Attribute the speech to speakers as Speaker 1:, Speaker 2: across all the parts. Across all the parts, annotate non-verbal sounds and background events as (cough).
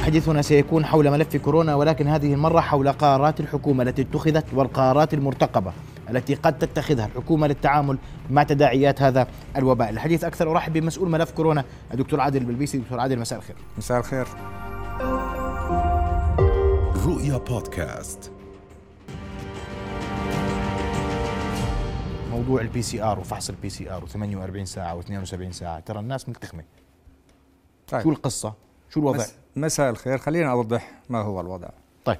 Speaker 1: حديثنا سيكون حول ملف كورونا ولكن هذه المرة حول قرارات الحكومة التي اتخذت والقرارات المرتقبة التي قد تتخذها الحكومة للتعامل مع تداعيات هذا الوباء الحديث أكثر أرحب بمسؤول ملف كورونا الدكتور عادل بلبيسي دكتور عادل مساء الخير
Speaker 2: مساء الخير
Speaker 3: رؤيا بودكاست
Speaker 1: موضوع البي سي ار وفحص البي سي ار و48 ساعة و72 ساعة ترى الناس ملتخمة شو
Speaker 2: طيب
Speaker 1: القصة شو الوضع
Speaker 2: مس- مساء الخير خلينا أوضح ما هو الوضع
Speaker 1: طيب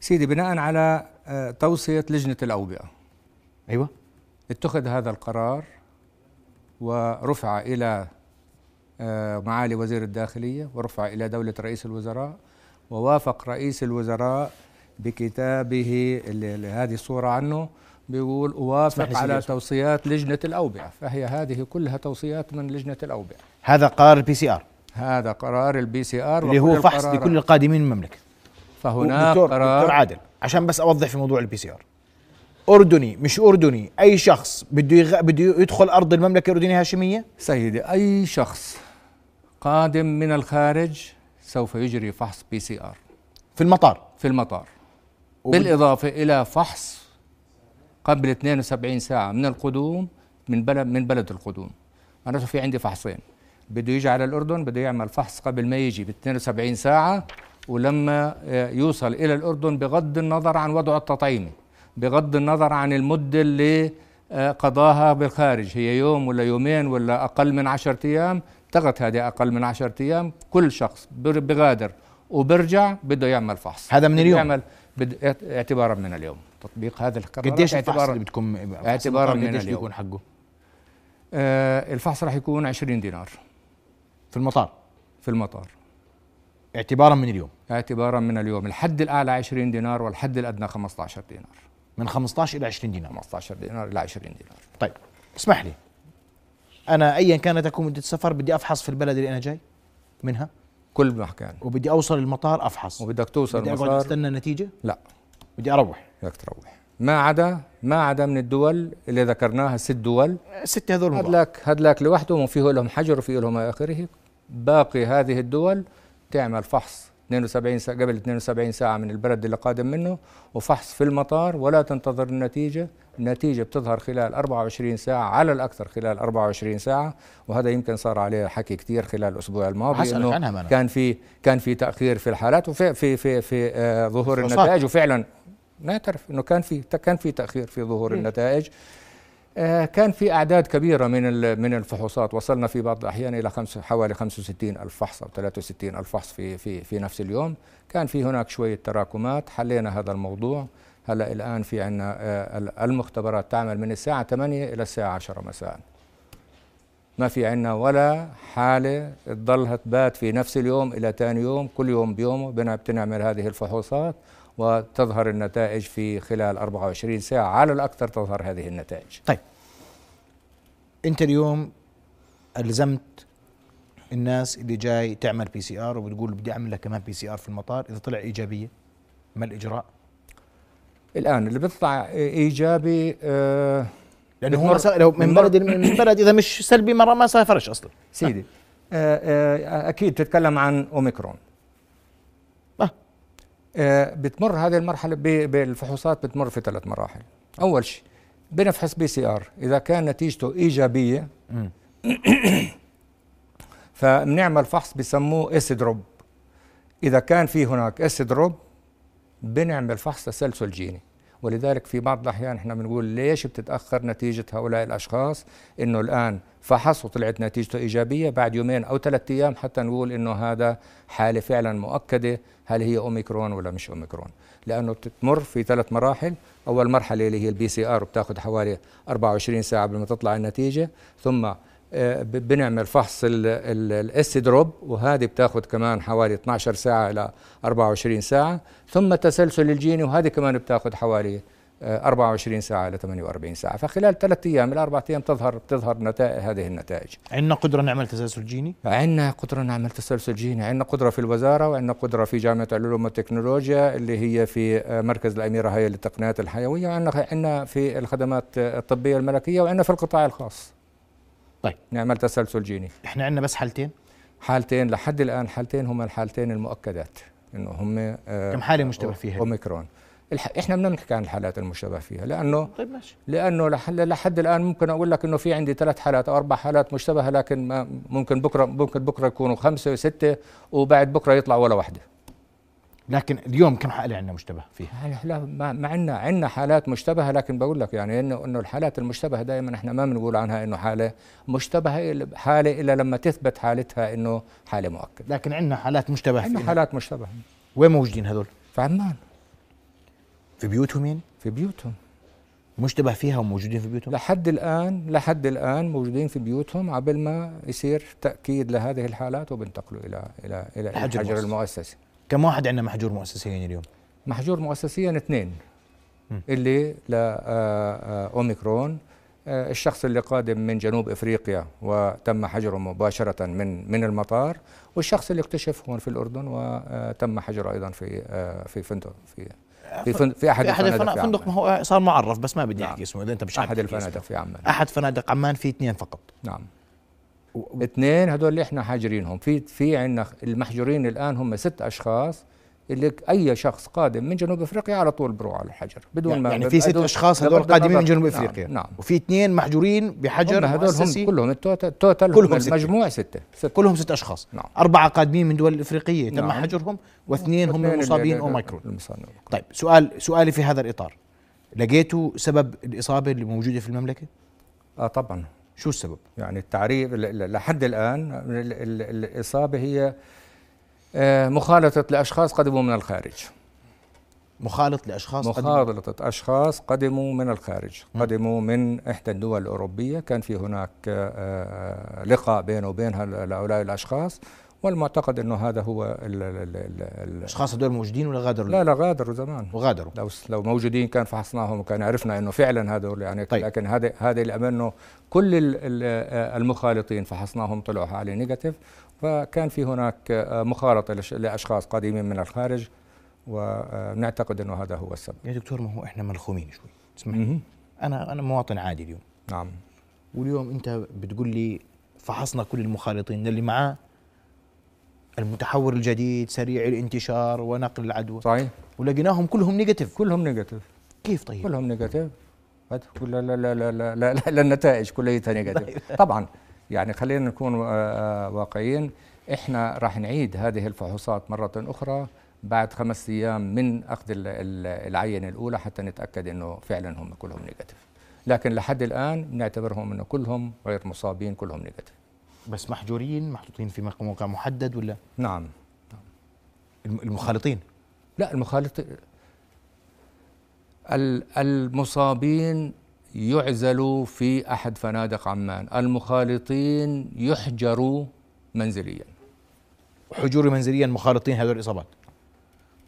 Speaker 2: سيدي بناء على آه، توصية لجنة الأوبئة
Speaker 1: أيوة
Speaker 2: اتخذ هذا القرار ورفع إلى آه، معالي وزير الداخلية ورفع إلى دولة رئيس الوزراء ووافق رئيس الوزراء بكتابه اللي اللي هذه الصورة عنه بيقول
Speaker 1: اسمح لي
Speaker 2: أوافق
Speaker 1: سيدي
Speaker 2: على
Speaker 1: أسمع.
Speaker 2: توصيات لجنة الأوبئة فهي هذه كلها توصيات من لجنة الأوبئة
Speaker 1: هذا قرار البي سي ار
Speaker 2: هذا قرار البي سي ار
Speaker 1: اللي هو فحص لكل القادمين من المملكه
Speaker 2: فهناك
Speaker 1: دكتور دكتور
Speaker 2: قرار
Speaker 1: عادل عشان بس اوضح في موضوع البي سي ار اردني مش اردني اي شخص بده يغ... بده يدخل ارض المملكه الاردنيه الهاشميه
Speaker 2: سيدي اي شخص قادم من الخارج سوف يجري فحص بي سي ار
Speaker 1: في المطار
Speaker 2: في المطار
Speaker 1: وب-
Speaker 2: بالاضافه الى فحص قبل 72 ساعه من القدوم من بلد من بلد القدوم انا في عندي فحصين بده يجي على الاردن بده يعمل فحص قبل ما يجي ب 72 ساعه ولما آه، يوصل الى الاردن بغض النظر عن وضعه التطعيمي بغض النظر عن المده اللي آه، قضاها بالخارج هي يوم ولا يومين ولا اقل من 10 ايام تغت هذه اقل من 10 ايام كل شخص بر- بغادر وبرجع بده يعمل فحص
Speaker 1: هذا من
Speaker 2: بده
Speaker 1: اليوم.
Speaker 2: يعمل بد- اعت- اعتبارا من اليوم تطبيق هذا القرار
Speaker 1: قديش الفحص
Speaker 2: اعتبارا
Speaker 1: اللي بدكم
Speaker 2: اعتباراً من
Speaker 1: قديش
Speaker 2: اليوم.
Speaker 1: بيكون حقه
Speaker 2: آه الفحص راح يكون 20 دينار
Speaker 1: في المطار
Speaker 2: في المطار
Speaker 1: اعتبارا من اليوم
Speaker 2: اعتبارا من اليوم الحد الاعلى 20 دينار والحد الادنى 15 دينار
Speaker 1: من 15 الى 20 دينار
Speaker 2: 15 دينار الى 20 دينار
Speaker 1: طيب اسمح لي انا ايا كانت تكون مده السفر بدي افحص في البلد اللي انا جاي منها
Speaker 2: كل مكان
Speaker 1: وبدي اوصل المطار افحص
Speaker 2: وبدك توصل
Speaker 1: بدي اقعد
Speaker 2: المطار
Speaker 1: استنى النتيجه
Speaker 2: لا
Speaker 1: بدي اروح
Speaker 2: بدك تروح ما عدا ما عدا من الدول اللي ذكرناها ست دول
Speaker 1: الستة هذول مضاعف.
Speaker 2: هدلاك هدلاك لوحدهم وفيه لهم حجر وفيه لهم ما اخره باقي هذه الدول تعمل فحص 72 ساعة قبل 72 ساعة من البلد اللي قادم منه وفحص في المطار ولا تنتظر النتيجة النتيجة بتظهر خلال 24 ساعة على الأكثر خلال 24 ساعة وهذا يمكن صار عليه حكي كثير خلال الأسبوع الماضي
Speaker 1: حسألك عنها ما أنا.
Speaker 2: كان في كان في تأخير في الحالات وفي في في, في آه ظهور
Speaker 1: فرصات.
Speaker 2: النتائج وفعلا نعترف انه كان في كان في تاخير في ظهور النتائج آه، كان في اعداد كبيره من ال- من الفحوصات وصلنا في بعض الاحيان الى خمس حوالي 65 الف فحص او 63 الف فحص في في في نفس اليوم كان في هناك شويه تراكمات حلينا هذا الموضوع هلا الان في عندنا المختبرات تعمل من الساعه 8 الى الساعه 10 مساء ما في عندنا ولا حالة تضلها تبات في نفس اليوم إلى ثاني يوم كل يوم بيومه بنا- بنعمل هذه الفحوصات وتظهر النتائج في خلال 24 ساعة على الأكثر تظهر هذه النتائج
Speaker 1: طيب انت اليوم الزمت الناس اللي جاي تعمل بي سي ار وبتقول بدي اعمل لك كمان بي سي ار في المطار اذا طلع ايجابيه ما الاجراء؟
Speaker 2: الآن اللي بيطلع إيجابي آه،
Speaker 1: لانه هو
Speaker 2: بتمر-
Speaker 1: مثلا لو من
Speaker 2: بتمر-
Speaker 1: بلد من بلد اذا مش سلبي مره ما سافرش اصلا
Speaker 2: سيدي (laughs) آه، آه، أكيد تتكلم عن أوميكرون
Speaker 1: آه.
Speaker 2: آه، بتمر هذه المرحلة ب- بالفحوصات بتمر في ثلاث مراحل أول شيء بنفحص بي سي آر إذا كان نتيجته إيجابية (clears throat)
Speaker 1: مم.
Speaker 2: فبنعمل فحص بسموه اس دروب اذا كان في هناك اس دروب بنعمل فحص تسلسل جيني ولذلك في بعض الاحيان احنا بنقول ليش بتتاخر نتيجه هؤلاء الاشخاص انه الان فحص وطلعت نتيجته ايجابيه بعد يومين او ثلاثة ايام حتى نقول انه هذا حاله فعلا مؤكده هل هي اوميكرون ولا مش اوميكرون لانه بتمر في ثلاث مراحل اول مرحله اللي هي البي سي ار بتاخذ حوالي 24 ساعه قبل ما تطلع النتيجه ثم آه، ب- بنعمل فحص الاس دروب وهذه بتاخذ كمان حوالي 12 ساعه الى 24 ساعه ثم التسلسل الجيني وهذه كمان بتاخذ حوالي آه، 24 ساعه الى 48 ساعه فخلال ثلاث ايام الى اربع ايام تظهر بتظهر نتائج هذه النتائج
Speaker 1: عندنا قدره نعمل تسلسل جيني
Speaker 2: عندنا قدرة نعمل تسلسل جيني عندنا قدرة في الوزارة وعندنا قدرة في جامعة العلوم والتكنولوجيا اللي هي في آه، مركز الأميرة هي للتقنيات الحيوية وعندنا عندنا في الخدمات آه، الطبية الملكية وعندنا في القطاع الخاص
Speaker 1: طيب.
Speaker 2: نعمل تسلسل جيني
Speaker 1: احنا عندنا بس حالتين
Speaker 2: حالتين لحد الان حالتين هما الحالتين المؤكدات انه هم آه،
Speaker 1: كم حالة مشتبه فيها؟
Speaker 2: اوميكرون الح... احنا بدنا نحكي عن الحالات المشتبه فيها لانه
Speaker 1: طيب ماشي
Speaker 2: لانه لح... لحد الان ممكن اقول لك انه في عندي ثلاث حالات او اربع حالات مشتبهه لكن ما ممكن بكره ممكن بكره يكونوا خمسه وسته وبعد بكره يطلع ولا واحده
Speaker 1: لكن اليوم كم حالة عندنا مشتبه فيها؟
Speaker 2: هلا- لا يعني ما ما عندنا عندنا حالات مشتبهه لكن بقول لك يعني انه انه الحالات المشتبهه دائما احنا ما بنقول عنها انه حاله مشتبهه إلا- حاله الا لما تثبت حالتها انه حاله مؤكده
Speaker 1: لكن عندنا حالات مشتبه
Speaker 2: عندنا
Speaker 1: فيها
Speaker 2: حالات مشتبهه
Speaker 1: وين موجودين هذول؟
Speaker 2: في عمان
Speaker 1: في بيوتهم يعني؟
Speaker 2: في بيوتهم
Speaker 1: مشتبه فيها وموجودين في بيوتهم؟
Speaker 2: لحد الان لحد الان موجودين في بيوتهم قبل ما يصير تاكيد لهذه الحالات وبنتقلوا الى الى الى
Speaker 1: الحجر
Speaker 2: الحجر
Speaker 1: المؤسسي.
Speaker 2: المؤسسي
Speaker 1: كم واحد عندنا محجور مؤسسيا اليوم؟
Speaker 2: محجور مؤسسيا اثنين
Speaker 1: مم.
Speaker 2: اللي آه، لاوميكرون آه، الشخص اللي قادم من جنوب افريقيا وتم حجره مباشره من من المطار والشخص اللي اكتشف هون في الاردن وتم حجره ايضا في آه، في فندق في في, فن- في احد
Speaker 1: في احد
Speaker 2: الفنادق
Speaker 1: الفنادق
Speaker 2: في
Speaker 1: فندق ما
Speaker 2: عمان.
Speaker 1: هو صار معرف بس ما بدي
Speaker 2: نعم.
Speaker 1: احكي اسمه اذا انت مش
Speaker 2: احد
Speaker 1: حابب تحكي
Speaker 2: الفنادق
Speaker 1: اسمه.
Speaker 2: في عمان
Speaker 1: احد فنادق عمان في اثنين فقط
Speaker 2: نعم
Speaker 1: و-
Speaker 2: اثنين هدول اللي احنا حاجرينهم في في عندنا المحجورين الان هم ست اشخاص اللي اي شخص قادم من جنوب افريقيا على طول بروح على الحجر بدون ما
Speaker 1: يعني في ست
Speaker 2: بدون-
Speaker 1: اشخاص هذول
Speaker 2: بغض
Speaker 1: قادمين
Speaker 2: النظر-
Speaker 1: من جنوب
Speaker 2: نعم،
Speaker 1: افريقيا
Speaker 2: نعم
Speaker 1: وفي اثنين محجورين بحجر
Speaker 2: هم هدول
Speaker 1: مؤسسي
Speaker 2: هم كلهم التوتال توتال
Speaker 1: كلهم
Speaker 2: هم
Speaker 1: ستة. إيه،
Speaker 2: المجموع ستة ست
Speaker 1: كلهم ست اشخاص
Speaker 2: نعم.
Speaker 1: اربعه قادمين من دول افريقيه تم
Speaker 2: نعم.
Speaker 1: حجرهم واثنين
Speaker 2: واثنين
Speaker 1: هم
Speaker 2: اللي-
Speaker 1: مصابين
Speaker 2: اللي-
Speaker 1: اوميكرون
Speaker 2: المصابين.
Speaker 1: طيب سؤال سؤالي في هذا الاطار لقيتوا سبب الاصابه اللي موجوده في المملكه
Speaker 2: اه طبعا
Speaker 1: شو السبب
Speaker 2: يعني التعريف ل- ل- لحد الان ال- ال- ال- الاصابه هي آه، مخالطه لاشخاص قدموا من الخارج
Speaker 1: مخالط لاشخاص قد
Speaker 2: مخالطة أشخاص قدموا من الخارج قدموا من إحدى الدول الأوروبية كان في هناك آه، لقاء بينه وبين هال- هؤلاء الأشخاص والمعتقد أنه هذا هو ال ال ال ال
Speaker 1: الاشخاص هذول موجودين ولا غادروا
Speaker 2: لا لا غادروا زمان
Speaker 1: وغادروا
Speaker 2: لو س- لو موجودين كان فحصناهم وكان عرفنا انه فعلا هذول يعني
Speaker 1: طيب.
Speaker 2: طيب. لكن هذا هذا الامر انه كل ال- ال- آه، المخالطين فحصناهم طلعوا على نيجاتيف فكان في هناك آه، مخالطه لش- لاشخاص قادمين من الخارج ونعتقد انه هذا هو السبب
Speaker 1: يا دكتور ما هو احنا ملخومين شوي اسمح
Speaker 2: مهم.
Speaker 1: انا انا مواطن عادي اليوم
Speaker 2: نعم
Speaker 1: واليوم انت بتقول لي فحصنا كل المخالطين اللي معاه المتحور الجديد سريع الانتشار ونقل العدوى
Speaker 2: صحيح
Speaker 1: ولقيناهم كلهم نيجاتيف
Speaker 2: كلهم نيجاتيف
Speaker 1: كيف طيب
Speaker 2: كلهم نيجاتيف هاد كل لا لا لا لا لا, لا, لا, لا النتائج كلها نيجاتيف طبعا يعني خلينا نكون آه، آه، واقعيين احنا راح نعيد هذه الفحوصات مرة أخرى بعد خمس أيام من أخذ ال- ال- العينة الأولى حتى نتأكد أنه فعلا هم كلهم نيجاتيف لكن لحد الآن نعتبرهم أنه كلهم غير مصابين كلهم نيجاتيف
Speaker 1: بس محجورين محطوطين في مك- موقع محدد ولا
Speaker 2: نعم
Speaker 1: الم- المخالطين
Speaker 2: لا المخالط ال- المصابين يعزلوا في احد فنادق عمان المخالطين يحجروا منزليا
Speaker 1: حجور منزليا مخالطين هذول الاصابات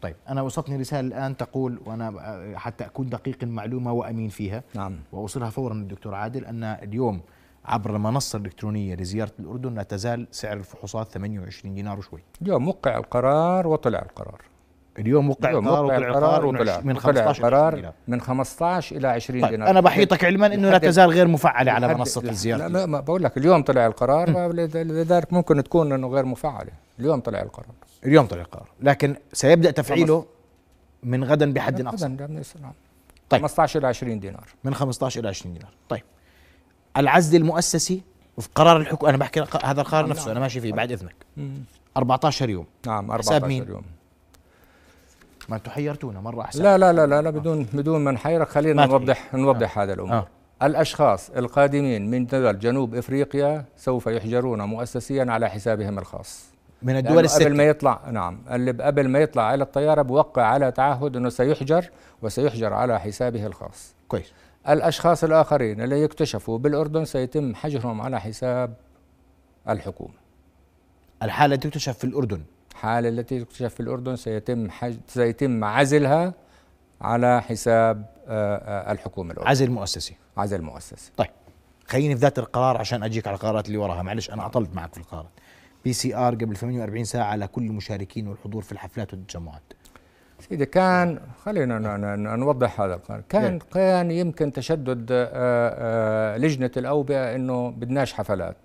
Speaker 1: طيب انا وصلتني رساله الان تقول وانا ب- حتى اكون دقيق المعلومه وامين فيها
Speaker 2: نعم
Speaker 1: واوصلها فورا للدكتور عادل ان اليوم عبر المنصه الالكترونيه لزياره الاردن لا تزال سعر الفحوصات 28 دينار وشوي
Speaker 2: اليوم وقع القرار وطلع القرار
Speaker 1: اليوم وقع
Speaker 2: اليوم
Speaker 1: القرار
Speaker 2: وقع
Speaker 1: وطلع القرار
Speaker 2: وطلع
Speaker 1: من
Speaker 2: وطلع
Speaker 1: 15
Speaker 2: القرار
Speaker 1: دينار
Speaker 2: من 15 الى 20
Speaker 1: طيب
Speaker 2: دينار
Speaker 1: انا بحيطك علما انه لا
Speaker 2: لحد-
Speaker 1: تزال غير مفعله على
Speaker 2: لحد-
Speaker 1: منصه
Speaker 2: لح-
Speaker 1: الزياره
Speaker 2: لا ما ما بقول لك اليوم طلع القرار لذ- لذلك ممكن تكون انه غير مفعله اليوم طلع القرار
Speaker 1: اليوم طلع القرار لكن سيبدا تفعيله من غدا بحد اقصى
Speaker 2: أبداً، لا، نعم.
Speaker 1: طيب.
Speaker 2: 15 الى 20 دينار
Speaker 1: من 15 الى 20 دينار طيب العزل المؤسسي في قرار الحكومه انا بحكي رق- هذا القرار نفسه انا ماشي فيه بعد اذنك 14 يوم
Speaker 2: نعم
Speaker 1: حساب
Speaker 2: 14
Speaker 1: مين؟
Speaker 2: يوم
Speaker 1: ما انتوا حيرتونا مره احسن
Speaker 2: لا لا لا لا, لا بدون بدون ما نحيرك خلينا
Speaker 1: ما تحير.
Speaker 2: نوضح نوضح هذا الامر
Speaker 1: آه.
Speaker 2: الاشخاص القادمين من دول جنوب افريقيا سوف يحجرون مؤسسيا على حسابهم الخاص
Speaker 1: من
Speaker 2: لأنه
Speaker 1: الدول
Speaker 2: قبل ما
Speaker 1: الست
Speaker 2: يطلع نعم اللي قبل ما يطلع على الطياره بوقع على تعهد انه سيحجر وسيحجر على حسابه الخاص
Speaker 1: كويس
Speaker 2: الاشخاص الاخرين اللي يكتشفوا بالاردن سيتم حجرهم على حساب الحكومه
Speaker 1: الحاله تكتشف في الاردن
Speaker 2: الحاله التي تكتشف في الاردن سيتم حج... سيتم عزلها على حساب آه، آه، الحكومه الاردنيه
Speaker 1: عزل مؤسسي
Speaker 2: عزل مؤسسي
Speaker 1: طيب خليني في ذات القرار عشان اجيك على القرارات اللي وراها معلش انا اطلت معك في القرارات بي سي ار قبل 48 ساعه على كل المشاركين والحضور في الحفلات والتجمعات
Speaker 2: سيدي كان خلينا ن- ن- ن- نوضح هذا القرار كان كان يمكن تشدد آه، آه، لجنه الاوبئه انه بدناش حفلات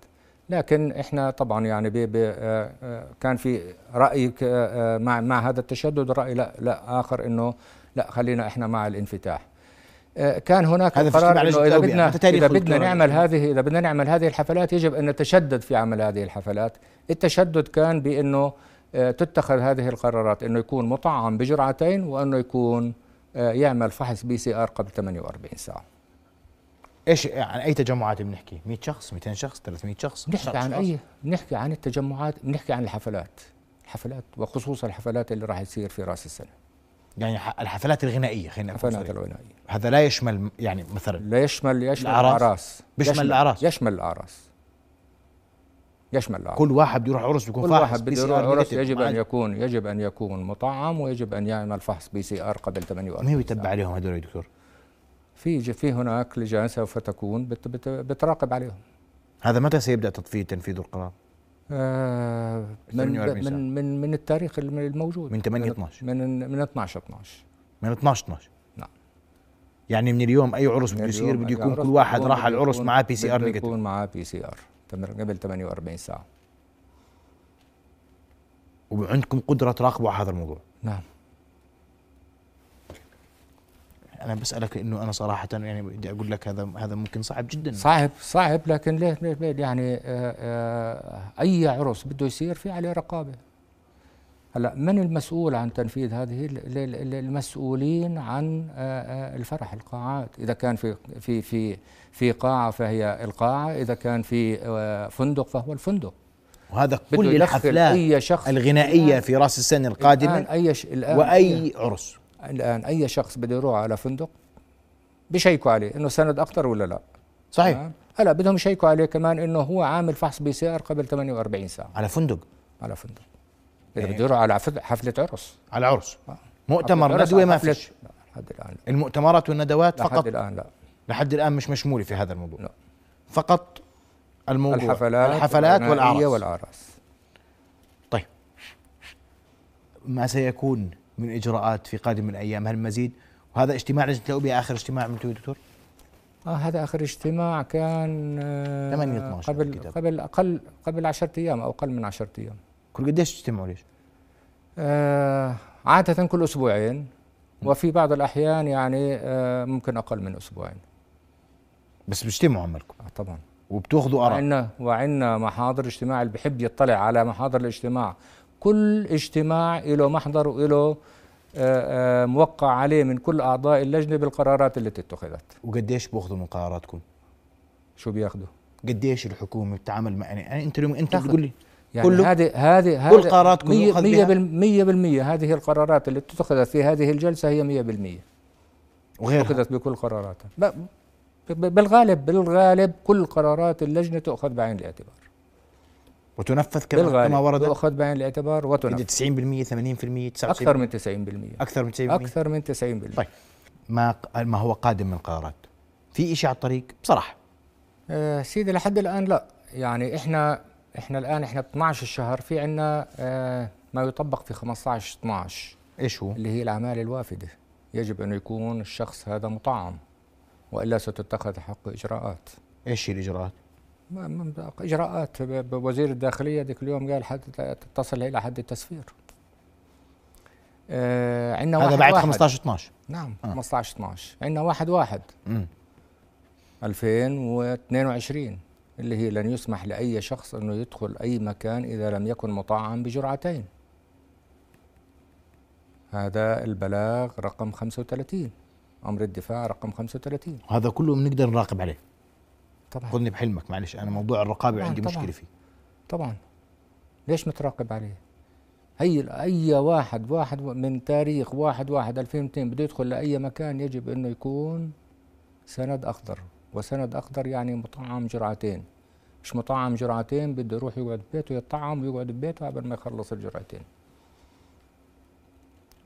Speaker 2: لكن احنا طبعا يعني بي بي آه، آه، كان في راي ك- آه، مع مع هذا التشدد راي لا لا اخر انه لا خلينا احنا مع الانفتاح آه، كان هناك
Speaker 1: هذا في
Speaker 2: قرار
Speaker 1: اجتماع
Speaker 2: انه
Speaker 1: لجنة التوبة،
Speaker 2: اذا بدنا
Speaker 1: يعني. تاريخ
Speaker 2: اذا بدنا
Speaker 1: القرار.
Speaker 2: نعمل هذه اذا بدنا نعمل هذه الحفلات يجب ان نتشدد في عمل هذه الحفلات التشدد كان بانه آه، تتخذ هذه القرارات انه يكون مطعم بجرعتين وانه يكون آه، يعمل فحص بي سي ار قبل 48 ساعه
Speaker 1: ايش يعني، عن اي تجمعات بنحكي 100 شخص 200 شخص 300 شخص
Speaker 2: بنحكي عن اي بنحكي عن التجمعات بنحكي عن الحفلات الحفلات وخصوصا الحفلات اللي راح تصير في راس السنه
Speaker 1: يعني ح- الحفلات الغنائيه خلينا نكون
Speaker 2: الحفلات
Speaker 1: نعم، صريح.
Speaker 2: الغنائيه
Speaker 1: هذا لا يشمل يعني مثلا
Speaker 2: لا يشمل يشمل
Speaker 1: الأعراس؟
Speaker 2: الاعراس
Speaker 1: بيشمل
Speaker 2: يشمل-
Speaker 1: الأعراس؟
Speaker 2: يشمل الاعراس يشمل الاعراس
Speaker 1: كل واحد بده يروح عرس بيكون
Speaker 2: كل
Speaker 1: فاحص
Speaker 2: واحد بده
Speaker 1: PCR
Speaker 2: يروح عرس
Speaker 1: negative.
Speaker 2: يجب
Speaker 1: ما
Speaker 2: ان
Speaker 1: عاد-
Speaker 2: يكون يجب ان يكون مطعم ويجب ان يعمل فحص بي سي ار قبل 48
Speaker 1: مين بيتبع عليهم هدول يا دكتور؟
Speaker 2: في ج- في هناك لجان سوف تكون بت بت بتراقب عليهم
Speaker 1: هذا متى سيبدا تطفي تنفيذ القرار؟
Speaker 2: آه من
Speaker 1: 48 ساعة.
Speaker 2: من من من التاريخ الم- الموجود
Speaker 1: من 8 12.
Speaker 2: من من 12 12
Speaker 1: من 12 12
Speaker 2: نعم
Speaker 1: يعني من اليوم اي عرس بده يصير
Speaker 2: اليوم يعني
Speaker 1: بده يكون
Speaker 2: العرس
Speaker 1: كل واحد
Speaker 2: بده
Speaker 1: راح
Speaker 2: يكون-
Speaker 1: على العرس معاه بي سي ار
Speaker 2: بده
Speaker 1: نيجاتيف
Speaker 2: يكون معاه بي سي ار قبل 48 ساعه
Speaker 1: وعندكم قدره تراقبوا على هذا الموضوع
Speaker 2: نعم
Speaker 1: انا بسالك انه انا صراحه يعني بدي اقول لك هذا هذا ممكن صعب جدا
Speaker 2: صعب صعب لكن ليه ليه ليه يعني آه آه اي عرس بده يصير في عليه رقابه هلا من المسؤول عن تنفيذ هذه ال- ال- ال- المسؤولين عن آه، آه، الفرح القاعات اذا كان في في في في قاعه فهي القاعه اذا كان في آه، فندق فهو الفندق
Speaker 1: وهذا
Speaker 2: بده
Speaker 1: كل
Speaker 2: يدخل
Speaker 1: الحفلات
Speaker 2: اي شخص
Speaker 1: الغنائيه في راس السنه
Speaker 2: الآن
Speaker 1: القادمه
Speaker 2: اي ش... الان
Speaker 1: واي عرس
Speaker 2: الان اي شخص بده يروح على فندق بشيكوا عليه انه سند اخطر ولا لا
Speaker 1: صحيح
Speaker 2: تمام؟ هلا بدهم يشيكوا عليه كمان انه هو عامل فحص بي سي ار قبل 48 ساعه
Speaker 1: على فندق
Speaker 2: على فندق اذا بده يروح على فد- حفله عرس
Speaker 1: على عرس
Speaker 2: آه.
Speaker 1: مؤتمر
Speaker 2: حفلة عرس
Speaker 1: ندوه
Speaker 2: على
Speaker 1: ما
Speaker 2: حفلة-
Speaker 1: فيش
Speaker 2: لا، لحد الان لا
Speaker 1: المؤتمرات والندوات
Speaker 2: لحد
Speaker 1: فقط
Speaker 2: الان لا
Speaker 1: لحد الان مش مشموله في هذا الموضوع
Speaker 2: لا.
Speaker 1: فقط الموضوع
Speaker 2: الحفلات
Speaker 1: الحفلات
Speaker 2: الغنائية
Speaker 1: والاعراس
Speaker 2: والاعراس
Speaker 1: طيب ما سيكون من اجراءات في قادم الايام هل مزيد وهذا اجتماع لجنه الاوبئه اخر اجتماع عملتوه يا دكتور
Speaker 2: آه هذا اخر اجتماع كان آه
Speaker 1: 8 12
Speaker 2: قبل
Speaker 1: الكتاب.
Speaker 2: قبل اقل قبل 10 ايام او اقل من 10 ايام
Speaker 1: كل قديش تجتمعوا ليش
Speaker 2: آه عادة كل أسبوعين وفي بعض الأحيان يعني آه ممكن أقل من أسبوعين
Speaker 1: بس بتجتمعوا عملكم
Speaker 2: آه طبعا
Speaker 1: وبتاخذوا اراء
Speaker 2: وعندنا وعندنا محاضر اجتماع اللي بحب يطلع على محاضر الاجتماع كل اجتماع له محضر وله آه آه موقع عليه من كل أعضاء اللجنة بالقرارات اللي اتخذت
Speaker 1: وقديش بتاخذوا من قراراتكم
Speaker 2: شو بياخدوا
Speaker 1: قديش الحكومه بتتعامل مع يعني يعني انت اليوم انت
Speaker 2: تاخذ.
Speaker 1: بتقول لي
Speaker 2: يعني
Speaker 1: كله؟
Speaker 2: هذه هذه
Speaker 1: كل
Speaker 2: هذا
Speaker 1: قرارات كله
Speaker 2: مية-
Speaker 1: يؤخذ
Speaker 2: مية
Speaker 1: بها؟
Speaker 2: بالم- مية بالمية هذه القرارات اللي اتخذت في هذه الجلسة هي مية بالمية
Speaker 1: وغيرها
Speaker 2: أخذت بكل قراراتها ب- ب- بالغالب بالغالب كل قرارات اللجنة تؤخذ بعين الاعتبار
Speaker 1: وتنفذ كما
Speaker 2: بالغالب
Speaker 1: كما ورد
Speaker 2: تؤخذ بعين الاعتبار
Speaker 1: إذا
Speaker 2: وتنفذ
Speaker 1: 90% 80% 99%
Speaker 2: أكثر من 90%
Speaker 1: اكثر من 90%
Speaker 2: أكثر من 90%
Speaker 1: طيب ما ما هو قادم من قرارات في شيء على الطريق بصراحه
Speaker 2: آه سيدي لحد الآن لا يعني إحنا إحنا الآن إحنا 12 الشهر في عنا آه ما يطبق في 15 12
Speaker 1: ايش هو
Speaker 2: اللي هي الأعمال الوافدة يجب أن يكون الشخص هذا مطعم وإلا ستتخذ حق إجراءات
Speaker 1: ايش هي الاجراءات
Speaker 2: ما- ما- اجراءات ب- ب- وزير الداخليه ذيك اليوم قال حد تتصل الى حد التسفير آه عندنا
Speaker 1: هذا
Speaker 2: واحد
Speaker 1: بعد
Speaker 2: واحد.
Speaker 1: 15 12
Speaker 2: نعم
Speaker 1: آه.
Speaker 2: 15 12 عندنا واحد واحد
Speaker 1: امم
Speaker 2: 2022 اللي هي لن يسمح لاي شخص انه يدخل اي مكان اذا لم يكن مطعم بجرعتين هذا البلاغ رقم 35 امر الدفاع رقم 35
Speaker 1: هذا كله بنقدر نراقب عليه
Speaker 2: طبعا
Speaker 1: خذني بحلمك معلش انا موضوع الرقابه
Speaker 2: طبعاً،
Speaker 1: عندي
Speaker 2: نعم، طبعاً.
Speaker 1: مشكله فيه
Speaker 2: طبعا ليش متراقب عليه هي اي واحد واحد من تاريخ واحد واحد 2002 بده يدخل لاي مكان يجب انه يكون سند اخضر وسند اخضر يعني مطعم جرعتين مش مطعم جرعتين بده يروح يقعد ببيته يطعم ويقعد ببيته قبل ما يخلص الجرعتين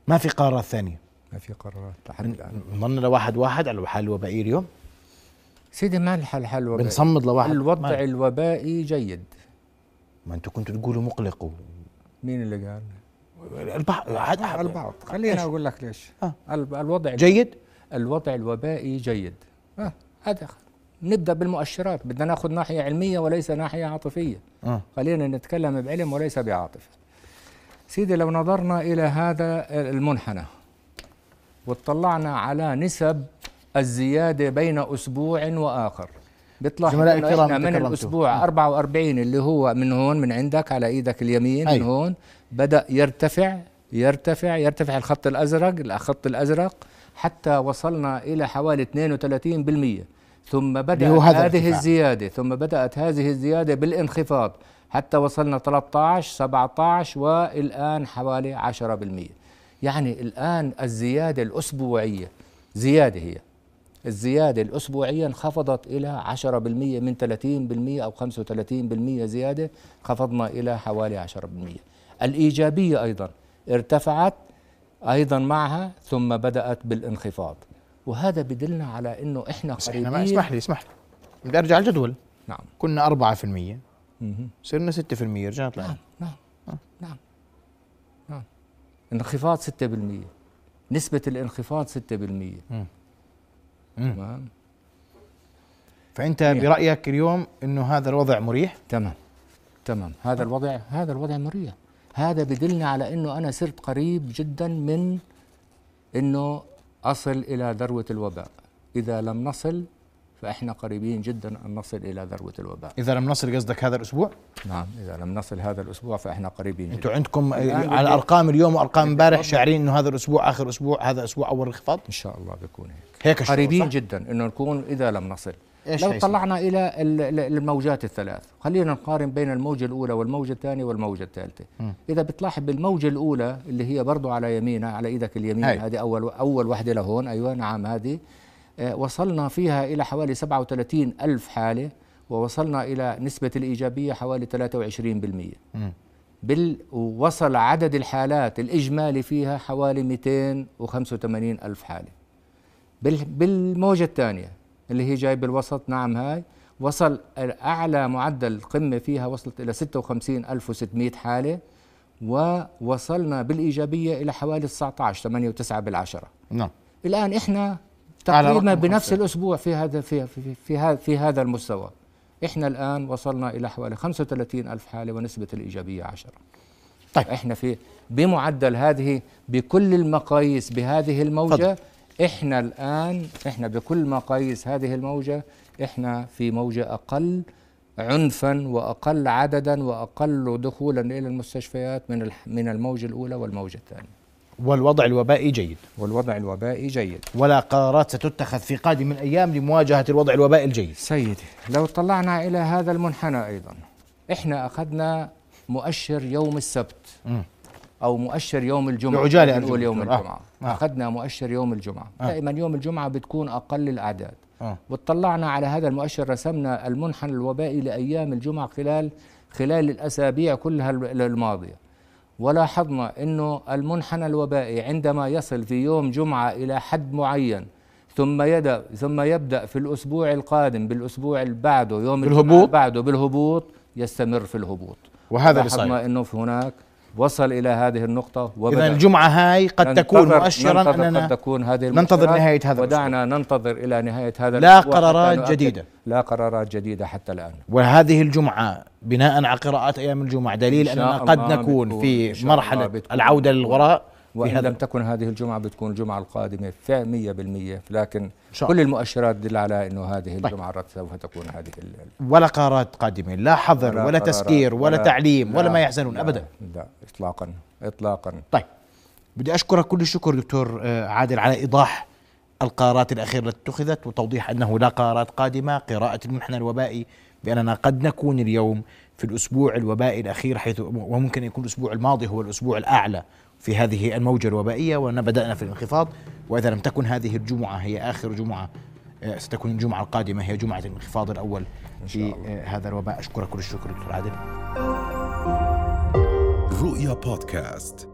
Speaker 1: ما في قرارات ثانيه
Speaker 2: ما في قرارات لحد الان
Speaker 1: نضلنا لواحد واحد على الحل الوبائي اليوم
Speaker 2: سيدي ما الحل حل وبائي
Speaker 1: بنصمد لواحد
Speaker 2: الوضع
Speaker 1: ما,
Speaker 2: الوبائي جيد
Speaker 1: ما انتم كنتوا تقولوا مقلق و-
Speaker 2: مين اللي قال؟
Speaker 1: البعض عاد أحد-
Speaker 2: البعض خلينا اقول لك ليش
Speaker 1: آه.
Speaker 2: الب- الوضع
Speaker 1: جيد
Speaker 2: الوضع الوبائي جيد آه، هذا نبدا بالمؤشرات بدنا ناخذ ناحيه علميه وليس ناحيه عاطفيه
Speaker 1: آه.
Speaker 2: خلينا نتكلم بعلم وليس بعاطفه سيدي لو نظرنا الى هذا المنحنى واطلعنا على نسب الزياده بين اسبوع واخر بيطلع
Speaker 1: زملائي
Speaker 2: إنه
Speaker 1: الكرام
Speaker 2: إحنا من
Speaker 1: تكرمتوا. نعم.
Speaker 2: الاسبوع 44 اللي هو من هون من عندك على ايدك اليمين
Speaker 1: أي.
Speaker 2: من هون بدا يرتفع يرتفع يرتفع الخط الازرق الخط الازرق حتى وصلنا الى حوالي 32% ثم بدات
Speaker 1: هو هذا
Speaker 2: هذه
Speaker 1: الارتفاع.
Speaker 2: الزياده ثم بدات هذه الزياده بالانخفاض حتى وصلنا 13 17 والان حوالي 10% يعني الان الزياده الاسبوعيه زياده هي الزيادة الأسبوعية انخفضت إلى 10% من 30% أو 35% زيادة خفضنا إلى حوالي 10% الإيجابية أيضا ارتفعت أيضا معها ثم بدأت بالانخفاض وهذا بدلنا على أنه إحنا
Speaker 1: بس احنا
Speaker 2: قريبين
Speaker 1: ما اسمح لي اسمح لي بدي ارجع على الجدول
Speaker 2: نعم
Speaker 1: كنا 4%
Speaker 2: مهم.
Speaker 1: صرنا 6% رجعنا طلعنا
Speaker 2: نعم نعم نعم انخفاض 6% نسبة الانخفاض 6% تمام
Speaker 1: فانت برايك اليوم انه هذا الوضع مريح
Speaker 2: تمام تمام هذا الوضع هذا الوضع مريح هذا بدلنا على انه انا صرت قريب جدا من انه اصل الى ذروه الوباء اذا لم نصل فاحنا قريبين جدا ان نصل الى ذروه الوباء
Speaker 1: اذا لم نصل قصدك هذا الاسبوع
Speaker 2: نعم اذا لم نصل هذا الاسبوع فاحنا قريبين جدا
Speaker 1: انتم عندكم
Speaker 2: الآن
Speaker 1: على
Speaker 2: بدي-
Speaker 1: ارقام اليوم وارقام امبارح شاعرين انه هذا الاسبوع اخر اسبوع هذا اسبوع اول انخفاض
Speaker 2: ان شاء الله بيكون هيك
Speaker 1: هيك الشعور،
Speaker 2: قريبين
Speaker 1: صح؟
Speaker 2: جدا انه نكون اذا لم نصل
Speaker 1: إيش
Speaker 2: لو
Speaker 1: حيصير؟
Speaker 2: طلعنا الى ال- ال- الموجات الثلاث خلينا نقارن بين الموجه الاولى والموجه الثانيه والموجه الثالثه اذا بتلاحظ بالموجه الاولى اللي هي برضو على يمينها على ايدك اليمين
Speaker 1: هاي.
Speaker 2: هذه اول اول وحده لهون ايوه نعم هذه آه، وصلنا فيها الى حوالي 37 الف حاله ووصلنا الى نسبه الايجابيه حوالي 23% بال ووصل عدد الحالات الإجمالي فيها حوالي 285 ألف حالة بال بالموجة الثانية اللي هي جاي بالوسط نعم هاي وصل أعلى معدل القمة فيها وصلت إلى 56600 حالة ووصلنا بالإيجابية إلى حوالي 19 8 و9 بالعشرة
Speaker 1: نعم
Speaker 2: الآن إحنا
Speaker 1: على رقم
Speaker 2: تقريبا
Speaker 1: خمسة.
Speaker 2: بنفس الأسبوع في هذا في في في, هذا- في هذا المستوى إحنا الآن وصلنا إلى حوالي 35 ألف حالة ونسبة الإيجابية 10
Speaker 1: طيب.
Speaker 2: إحنا في بمعدل هذه بكل المقاييس بهذه الموجة إحنا الآن إحنا بكل مقاييس هذه الموجة إحنا في موجة أقل عنفا وأقل عددا وأقل دخولا إلى المستشفيات من الح- من الموجة الأولى والموجة الثانية
Speaker 1: والوضع الوبائي جيد
Speaker 2: والوضع الوبائي جيد
Speaker 1: ولا قرارات ستتخذ في قادم الايام لمواجهه الوضع الوبائي الجيد
Speaker 2: سيدي لو طلعنا إلى هذا المنحنى أيضا إحنا أخذنا مؤشر يوم السبت
Speaker 1: مم.
Speaker 2: أو مؤشر يوم الجمعة
Speaker 1: بعجالة
Speaker 2: خلينا
Speaker 1: أرجو
Speaker 2: نقول يوم
Speaker 1: دكتور. آه.
Speaker 2: الجمعة
Speaker 1: آه.
Speaker 2: أخذنا مؤشر يوم الجمعة
Speaker 1: آه.
Speaker 2: دائما يوم الجمعة بتكون أقل الأعداد
Speaker 1: آه.
Speaker 2: واطلعنا على هذا المؤشر رسمنا المنحنى الوبائي لأيام الجمعة خلال خلال الأسابيع كلها ال- الماضية ولاحظنا أنه المنحنى الوبائي عندما يصل في يوم جمعة إلى حد معين ثم يدا ثم يبدا في الاسبوع القادم بالاسبوع اللي بعده يوم الجمعة
Speaker 1: بالهبوط؟
Speaker 2: بعده بالهبوط يستمر في الهبوط
Speaker 1: وهذا اللي
Speaker 2: لاحظنا
Speaker 1: صاير.
Speaker 2: انه في هناك وصل الى هذه النقطه
Speaker 1: اذا
Speaker 2: وبدا
Speaker 1: الجمعه هاي قد تكون
Speaker 2: ننتظر-
Speaker 1: مؤشرا
Speaker 2: ننتظر
Speaker 1: اننا
Speaker 2: قد تكون هذه
Speaker 1: ننتظر
Speaker 2: المؤشرات
Speaker 1: نهاية هذا
Speaker 2: ودعنا ننتظر الى نهايه هذا
Speaker 1: لا
Speaker 2: الأسبوع حتى
Speaker 1: قرارات
Speaker 2: نؤكد-
Speaker 1: جديدة.
Speaker 2: لا قرارات جديده حتى الان
Speaker 1: وهذه الجمعة بناء على قراءات أيام الجمعة دليل
Speaker 2: إن
Speaker 1: أننا
Speaker 2: شاء
Speaker 1: قد
Speaker 2: الله
Speaker 1: نكون
Speaker 2: بتكون- إن
Speaker 1: في
Speaker 2: شاء الله
Speaker 1: مرحلة
Speaker 2: بتكون.
Speaker 1: العودة للوراء في
Speaker 2: وان
Speaker 1: هذا
Speaker 2: لم تكن هذه الجمعه بتكون الجمعه القادمه في 100% لكن
Speaker 1: شاء
Speaker 2: كل
Speaker 1: الله. طيب.
Speaker 2: المؤشرات تدل على انه هذه الجمعه سوف تكون هذه ال-
Speaker 1: ولا قرارات قادمة لا حظر
Speaker 2: ولا
Speaker 1: ولا
Speaker 2: قرارات،
Speaker 1: تسكير ولا تعليم ولا
Speaker 2: لا،
Speaker 1: ما يحزنون
Speaker 2: لا،
Speaker 1: أبدا
Speaker 2: لا اطلاقا اطلاقا
Speaker 1: طيب بدي أشكرك كل الشكر دكتور آه، عادل على إيضاح القرارات الأخيرة التي اتخذت وتوضيح أنه لا قرارات قادمة قراءة المنحنى الوبائي بأننا قد نكون اليوم في الأسبوع الوبائي الأخير حيث وممكن يكون الأسبوع الماضي هو الأسبوع الأعلى في هذه الموجة الوبائية وأننا بدأنا في الانخفاض وإذا لم تكن هذه الجمعة هي آخر جمعة آه، ستكون الجمعة القادمة هي جمعة الانخفاض الأول في آه، هذا الوباء أشكرك كل الشكر دكتور عادل
Speaker 3: رؤيا بودكاست